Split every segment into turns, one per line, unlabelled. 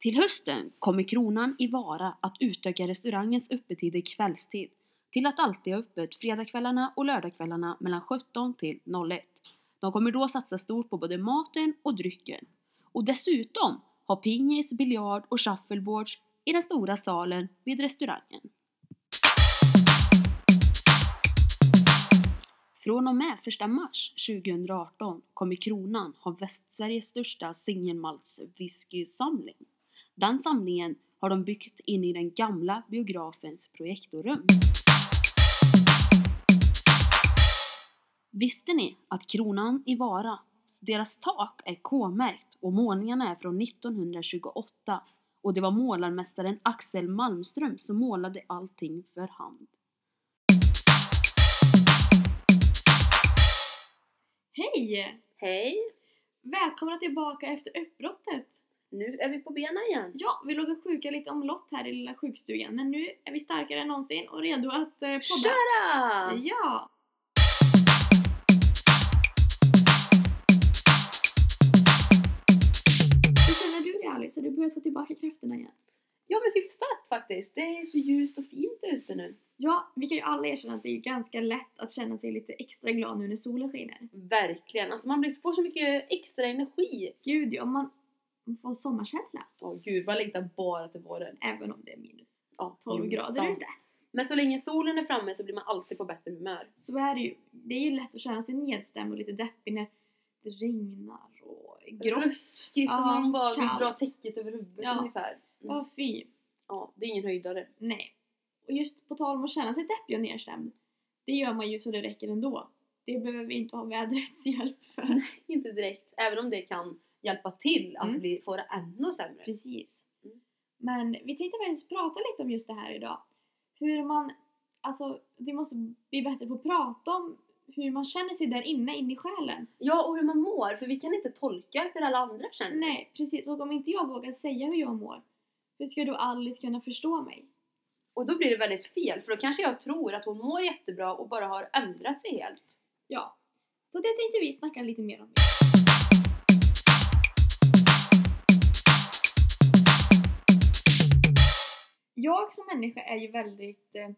Till hösten kommer Kronan i Vara att utöka restaurangens öppettider kvällstid till att alltid ha öppet fredagskvällarna och lördagskvällarna mellan 17 till 01. De kommer då satsa stort på både maten och drycken. Och dessutom ha pingis, biljard och shuffleboards i den stora salen vid restaurangen. Från och med 1 mars 2018 kommer Kronan ha Västsveriges största singelmaltswhiskysamling. Den samlingen har de byggt in i den gamla biografens projektorrum. Visste ni att Kronan i Vara, deras tak är K-märkt och målningarna är från 1928 och det var målarmästaren Axel Malmström som målade allting för hand.
Hej!
Hej!
Välkomna tillbaka efter uppbrottet!
Nu är vi på benen igen.
Ja, vi låg och sjuka lite omlott här i lilla sjukstugan men nu är vi starkare än någonsin och redo att eh, podda.
Köra!
Ja! Hur känner du dig Alice? Har du börjat få tillbaka krafterna igen?
Ja men hyfsat faktiskt. Det är så ljust och fint ute nu.
Ja, vi kan ju alla erkänna att det är ganska lätt att känna sig lite extra glad nu när solen skiner.
Verkligen. Alltså man blir, får så mycket extra energi.
Gud ja, man får sommarkänsla.
Åh gud, man längtar bara till våren.
Även om det är minus
Ja,
12
jo,
grader
sant.
ute.
Men så länge solen är framme så blir man alltid på bättre humör.
Så är det ju. Det är ju lätt att känna sig nedstämd och lite deppig när det regnar och är grått.
Ruskigt
Ja,
och man bara
kallt.
vill dra täcket över huvudet
Ja.
ungefär. Mm.
Ja, fy.
Ja, det är ingen höjdare.
Nej. Och just på tal om att känna sig deppig och nedstämd. Det gör man ju så det räcker ändå. Det behöver vi inte ha vädrets hjälp för.
Inte direkt. Även om det kan hjälpa till att
Mm.
bli, få det ännu sämre.
Precis.
Mm.
Men vi tänkte faktiskt prata lite om just det här idag. Hur man, alltså vi måste bli bättre på att prata om hur man känner sig där inne, in i själen.
Ja, och hur man mår. För vi kan inte tolka hur alla andra känner.
Nej, precis. Och om inte jag vågar säga hur jag mår, hur ska då Alice kunna förstå mig?
Och då blir det väldigt fel. För då kanske jag tror att hon mår jättebra och bara har ändrat sig helt.
Ja, så det tänkte vi snacka lite mer om. Jag som människa är ju väldigt... Eh,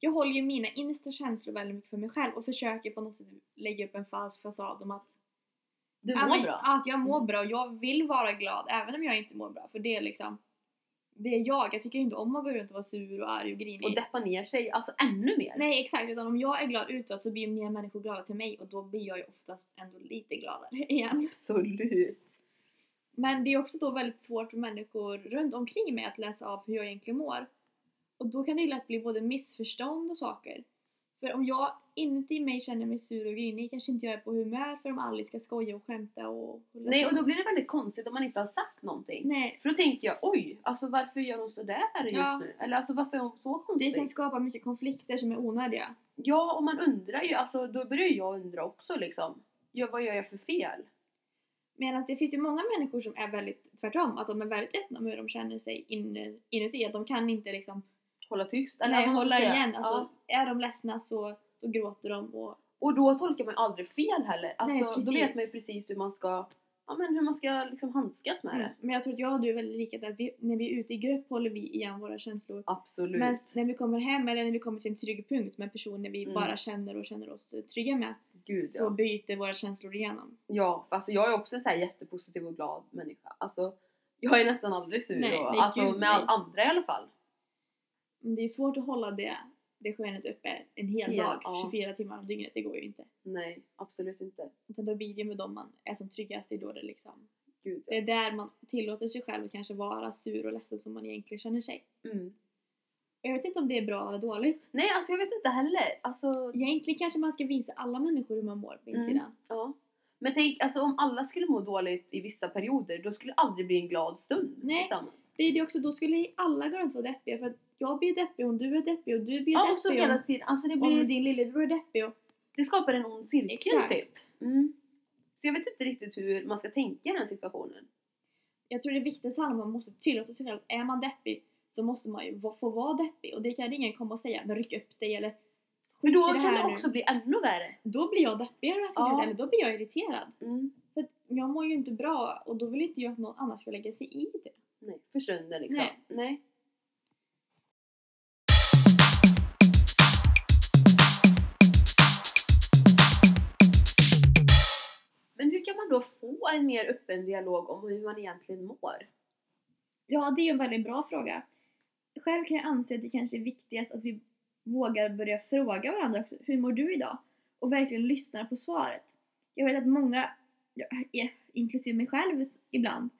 jag håller ju mina innersta känslor väldigt mycket för mig själv och försöker på något sätt lägga upp en falsk fasad om att,
Du
ja,
mår
men-
bra. Mm.
att jag mår bra och jag vill vara glad även om jag inte mår bra. För det är liksom... Det är jag. Jag tycker inte om att gå runt och vara sur och arg och grinig.
och deppa ner sig alltså ännu mer.
Nej exakt, utan om jag är glad utåt så blir ju mer människor glada till mig och då blir jag ju oftast ändå lite gladare igen.
Absolut.
Men det är också då väldigt svårt för människor runt omkring mig att läsa av hur jag egentligen mår. Och då kan det ju lätt bli både missförstånd och saker. För om jag inuti mig känner mig sur och grinig kanske inte jag är på humör för om Alice ska skoja och skämta och...
Nej, och då blir det väldigt konstigt om man inte har sagt någonting.
Nej,
För då tänker jag, oj, alltså varför gör hon sådär just
Ja.
nu? Eller alltså varför är hon så
det
konstig?
kan skapa mycket konflikter som är onödiga.
Ja, och man undrar ju, alltså då börjar ju jag undra också liksom. Ja, vad gör jag för fel?
Medan det finns ju många människor som är väldigt tvärtom, att de är väldigt öppna med hur de känner sig inne- inuti, att de kan inte liksom
Hålla tyst?
Nej,
vad man ska
hålla
säga.
igen. Alltså,
Ja.
Är de ledsna så, så gråter de. Och,
Och då tolkar man ju aldrig fel heller.
Nej,
Alltså,
precis.
då vet man ju precis hur man ska, ja men hur man ska liksom handskas med det.
Men jag tror att jag och du är väldigt lika där. att Vi, när vi är ute i grupp håller vi igen våra känslor.
Absolut.
Men när vi kommer hem eller när vi kommer till en trygg punkt med personer vi
Mm.
bara känner och känner oss trygga med
Gud ja.
så byter våra känslor igenom.
Ja, för alltså jag är också en så här jättepositiv och glad människa. Alltså, jag är nästan aldrig sur.
Nej,
och,
nej,
alltså
gud,
med
nej.
andra i alla fall.
Men det är svårt att hålla det, det skenet uppe en hel
Ja,
dag,
ja.
24 timmar om dygnet. Det går ju inte.
Nej, absolut inte.
Utan då blir det med dem man är som tryggast. Det är då det liksom.
Gud
Det
ja.
är där man tillåter sig själv att kanske vara sur och ledsen som man egentligen känner sig.
Mm.
Jag vet inte om det är bra eller dåligt.
Nej, alltså jag vet inte heller. Alltså,
Egentligen kanske man ska visa alla människor hur man mår på
Mm.
insidan.
ja. Men tänk, alltså om alla skulle må dåligt i vissa perioder, då skulle det aldrig bli en glad stund
Nej.
tillsammans.
Det är det också, då skulle alla gå runt och vara deppiga för att jag blir deppig om du är deppig och du blir
Ja, och så
deppig
hela
om,
tiden. Alltså det,
om
blir,
din lillebror är deppig och...
det skapar en ond cirkel
Exakt.
typ. Mm. Så jag vet inte riktigt hur man ska tänka i den situationen.
Jag tror det viktigaste handlar om att man måste tillåta sig själv. Är man deppig så måste man ju va- få vara deppig och det kan ingen komma och säga men ryck upp dig eller
För då
i det
kan
här
det
nu.
också bli ännu värre.
då blir jag deppigare jag ska
Ja.
bjuda, eller då blir jag irriterad.
Mm.
För att jag mår ju inte bra och då vill inte jag att någon annan ska lägga sig i det.
Nej, för stunden liksom.
Nej.
Nej. Men hur kan man då få en mer öppen dialog om hur man egentligen mår?
Ja, det är ju en väldigt bra fråga. Själv kan jag anse att det kanske är viktigast att vi vågar börja fråga varandra också. Hur mår du idag? Och verkligen lyssnar på svaret. Jag vet att många, ja, eh, inklusive mig själv s- ibland,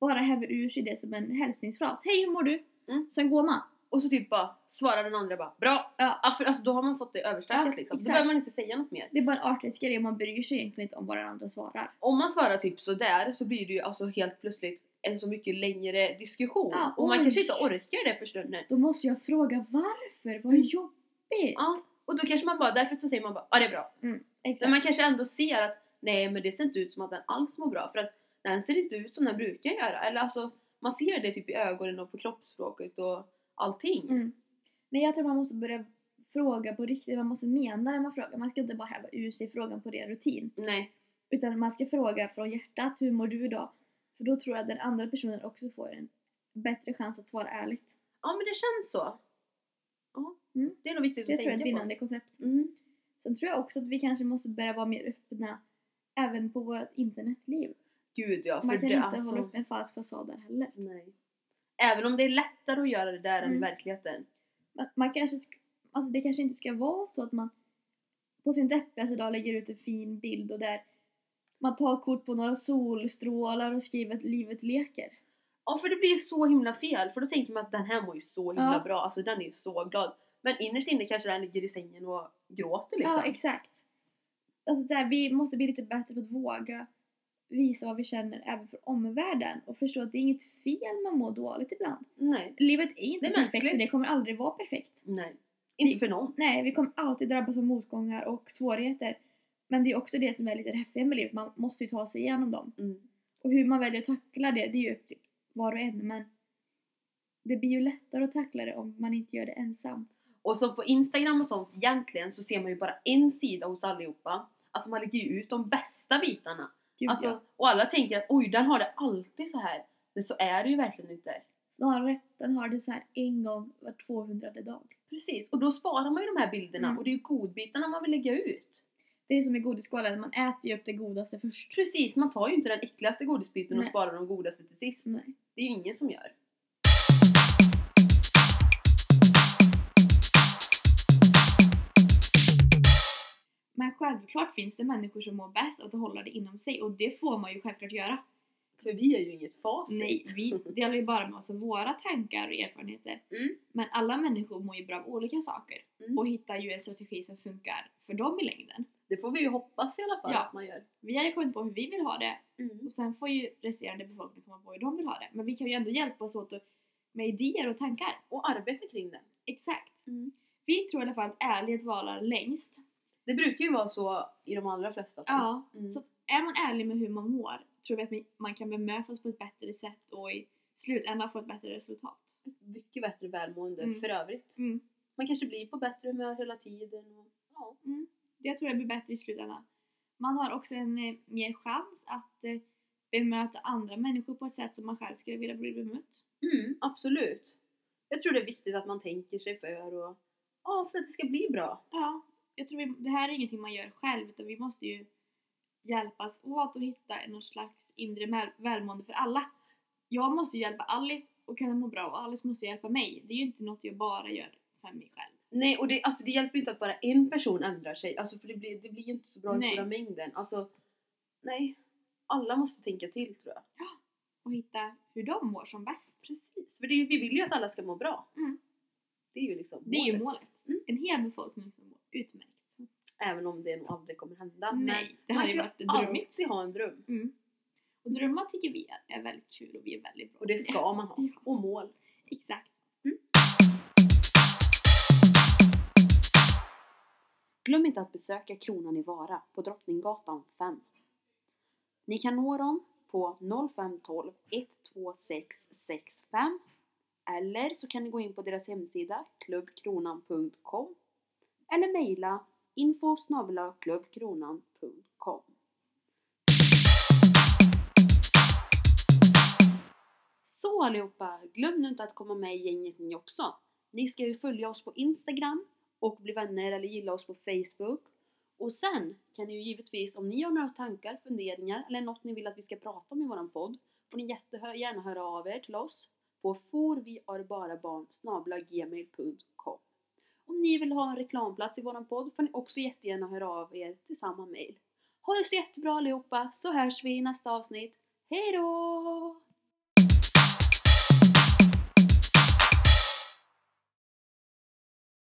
bara häver ur sig det som en hälsningsfras. Hej, hur mår du?
Mm.
Sen går man.
Och så typ bara svarar den andra bara bra.
Ja.
Alltså, för, alltså då har man fått det överstökat
Ja,
liksom. Då
exakt.
behöver man inte säga något mer.
Det är bara en artighetsgrej och man bryr sig egentligen inte om vad den andra svarar.
Om man svarar typ sådär så blir det ju alltså helt plötsligt en så mycket längre diskussion.
Ja,
och man
oj.
kanske inte orkar det för stunden.
Då måste jag fråga varför? Vad
Mm.
jobbigt!
Ja. Och då kanske man bara, därför så säger man bara ja det är bra. Men
Exakt.
man kanske ändå ser att nej men det ser inte ut som att den alls mår bra. För att den ser inte ut som den brukar göra. Eller alltså man ser det typ i ögonen och på kroppsspråket och allting.
Mm. Nej, jag tror man måste börja fråga på riktigt. Man måste mena när man frågar. Man ska inte bara häva ur sig frågan på ren rutin.
Nej.
Utan man ska fråga från hjärtat, hur mår du idag? För då tror jag att den andra personen också får en bättre chans att svara ärligt.
Ja men det känns så. Ja.
Mm.
Det är nog viktigt
Det
att
tror jag är
tänka
ett
på.
vinnande koncept.
Mm.
Sen tror jag också att vi kanske måste börja vara mer öppna även på vårt internetliv.
Gud ja. För
Man kan
det,
inte
alltså,
hålla upp en falsk fasad där heller.
Nej. Även om det är lättare att göra det där än i
Mm.
verkligheten.
Man, man kanske sk- alltså det kanske inte ska vara så att man på sin deppigaste dag lägger ut en fin bild och där man tar kort på några solstrålar och skriver att livet leker.
Ja för det blir ju så himla fel. För då tänker man att den här mår ju så himla
Ja.
bra. Alltså den är ju så glad. Men innerst inne kanske den ligger i sängen och gråter liksom.
Ja, exakt. Alltså så här, vi måste bli lite bättre på att våga visa vad vi känner även för omvärlden och förstå att det är inget fel med att må dåligt ibland.
Nej.
Livet är inte
Det är
perfekt och
mänskligt.
det kommer aldrig vara perfekt.
Nej. Inte
Vi-
för någon.
Nej, vi kommer alltid drabbas av motgångar och svårigheter. Men det är också det som är lite häftigt med livet, man måste ju ta sig igenom dem.
Mm.
Och hur man väljer att tackla det, det är ju upp till var och en men det blir ju lättare att tackla det om man inte gör det ensam.
Och så på Instagram och sånt egentligen så ser man ju bara en sida hos allihopa. Alltså man lägger ju ut de bästa bitarna.
Gud,
Alltså,
ja.
Och alla tänker att oj den har det alltid så här. Men så är det ju verkligen inte.
Snarare, den har det så här en gång var 200 dag.
Precis. Och då sparar man ju de här bilderna
Mm.
och det är ju godbitarna man vill lägga ut.
Det är som i godisskålen, man äter ju upp det godaste först.
Precis, man tar ju inte den äckligaste godisbiten och
Nej.
sparar de godaste till sist.
Nej.
Det är ju ingen som gör.
Men självklart finns det människor som mår bäst av att hålla det inom sig och det får man ju självklart göra.
För vi är ju inget facit.
Nej, vi delar ju bara med oss av våra tankar och erfarenheter.
Mm.
Men alla människor mår ju bra av olika saker
Mm.
och hittar ju en strategi som funkar för dem i längden.
Det får vi ju hoppas i alla fall
Ja.
att man gör.
Vi har ju kommit på hur vi vill ha det
Mm.
och sen får ju resterande befolkning komma på hur de vill ha det. Men vi kan ju ändå hjälpas åt och- med idéer och tankar.
Och arbeta kring det.
Exakt.
Mm.
Vi tror i alla fall att ärlighet varar längst.
Det brukar ju vara så i de allra flesta. fall.
Ja.
Mm.
Så är man ärlig med hur man mår tror vi att mi- man kan bemötas på ett bättre sätt och i slutändan få ett bättre resultat.
mycket bättre välmående
Mm.
för övrigt.
Mm.
Man kanske blir på bättre humör hela tiden. Och, ja.
Mm. Jag tror det blir bättre i slutändan. Man har också en eh, mer chans att eh, bemöta andra människor på ett sätt som man själv skulle vilja bli bemött.
Mm, absolut. Jag tror det är viktigt att man tänker sig för och ja, för att det ska bli bra.
Ja, jag tror vi, det här är ingenting man gör själv utan vi måste ju hjälpas åt att hitta någon slags inre väl- välmående för alla. Jag måste ju hjälpa Alice och kunna må bra och Alice måste hjälpa mig. Det är ju inte något jag bara gör för mig själv.
Nej, och det, alltså, det hjälper ju inte att bara en person ändrar sig. Alltså, för det blir, det blir ju inte så bra i
Nej.
stora mängden. Alltså, nej. Alla måste tänka till tror jag.
och hitta hur de mår som bäst.
Precis. För det är, ju- vi vill ju att alla ska må bra.
Mm.
Det är ju liksom
Det är ju målet.
Mm.
En hel befolkning som mår utmärkt.
Även om det nog aldrig kommer hända. Men
Nej, det hade ju varit
Man kan ju
drömmigt.
alltid ha en dröm.
Mm. Och drömmar tycker vi är väldigt kul och vi är väldigt bra
Och det
på
ska man ha.
Ja,
Och mål.
exakt.
Glöm inte att besöka Kronan i Vara på Drottninggatan 5. Ni kan nå dem på 0512 126 65 eller så kan ni gå in på deras hemsida klubbkronan.com eller mejla info snabel-a klubbkronan.com
Så allihopa, glöm nu inte att komma med i gänget ni också. Ni ska ju följa oss på Instagram och bli vänner eller gilla oss på Facebook. Och sen kan ni ju givetvis, om ni har några tankar, funderingar eller något ni vill att vi ska prata om i våran podd, får ni jättegärna höra av er till oss på forviarbarabarn.gmail.com Om ni vill ha en reklamplats i våran podd får ni också jättegärna höra av er till samma mail. Ha det så jättebra allihopa, så hörs vi i nästa avsnitt. Hej då!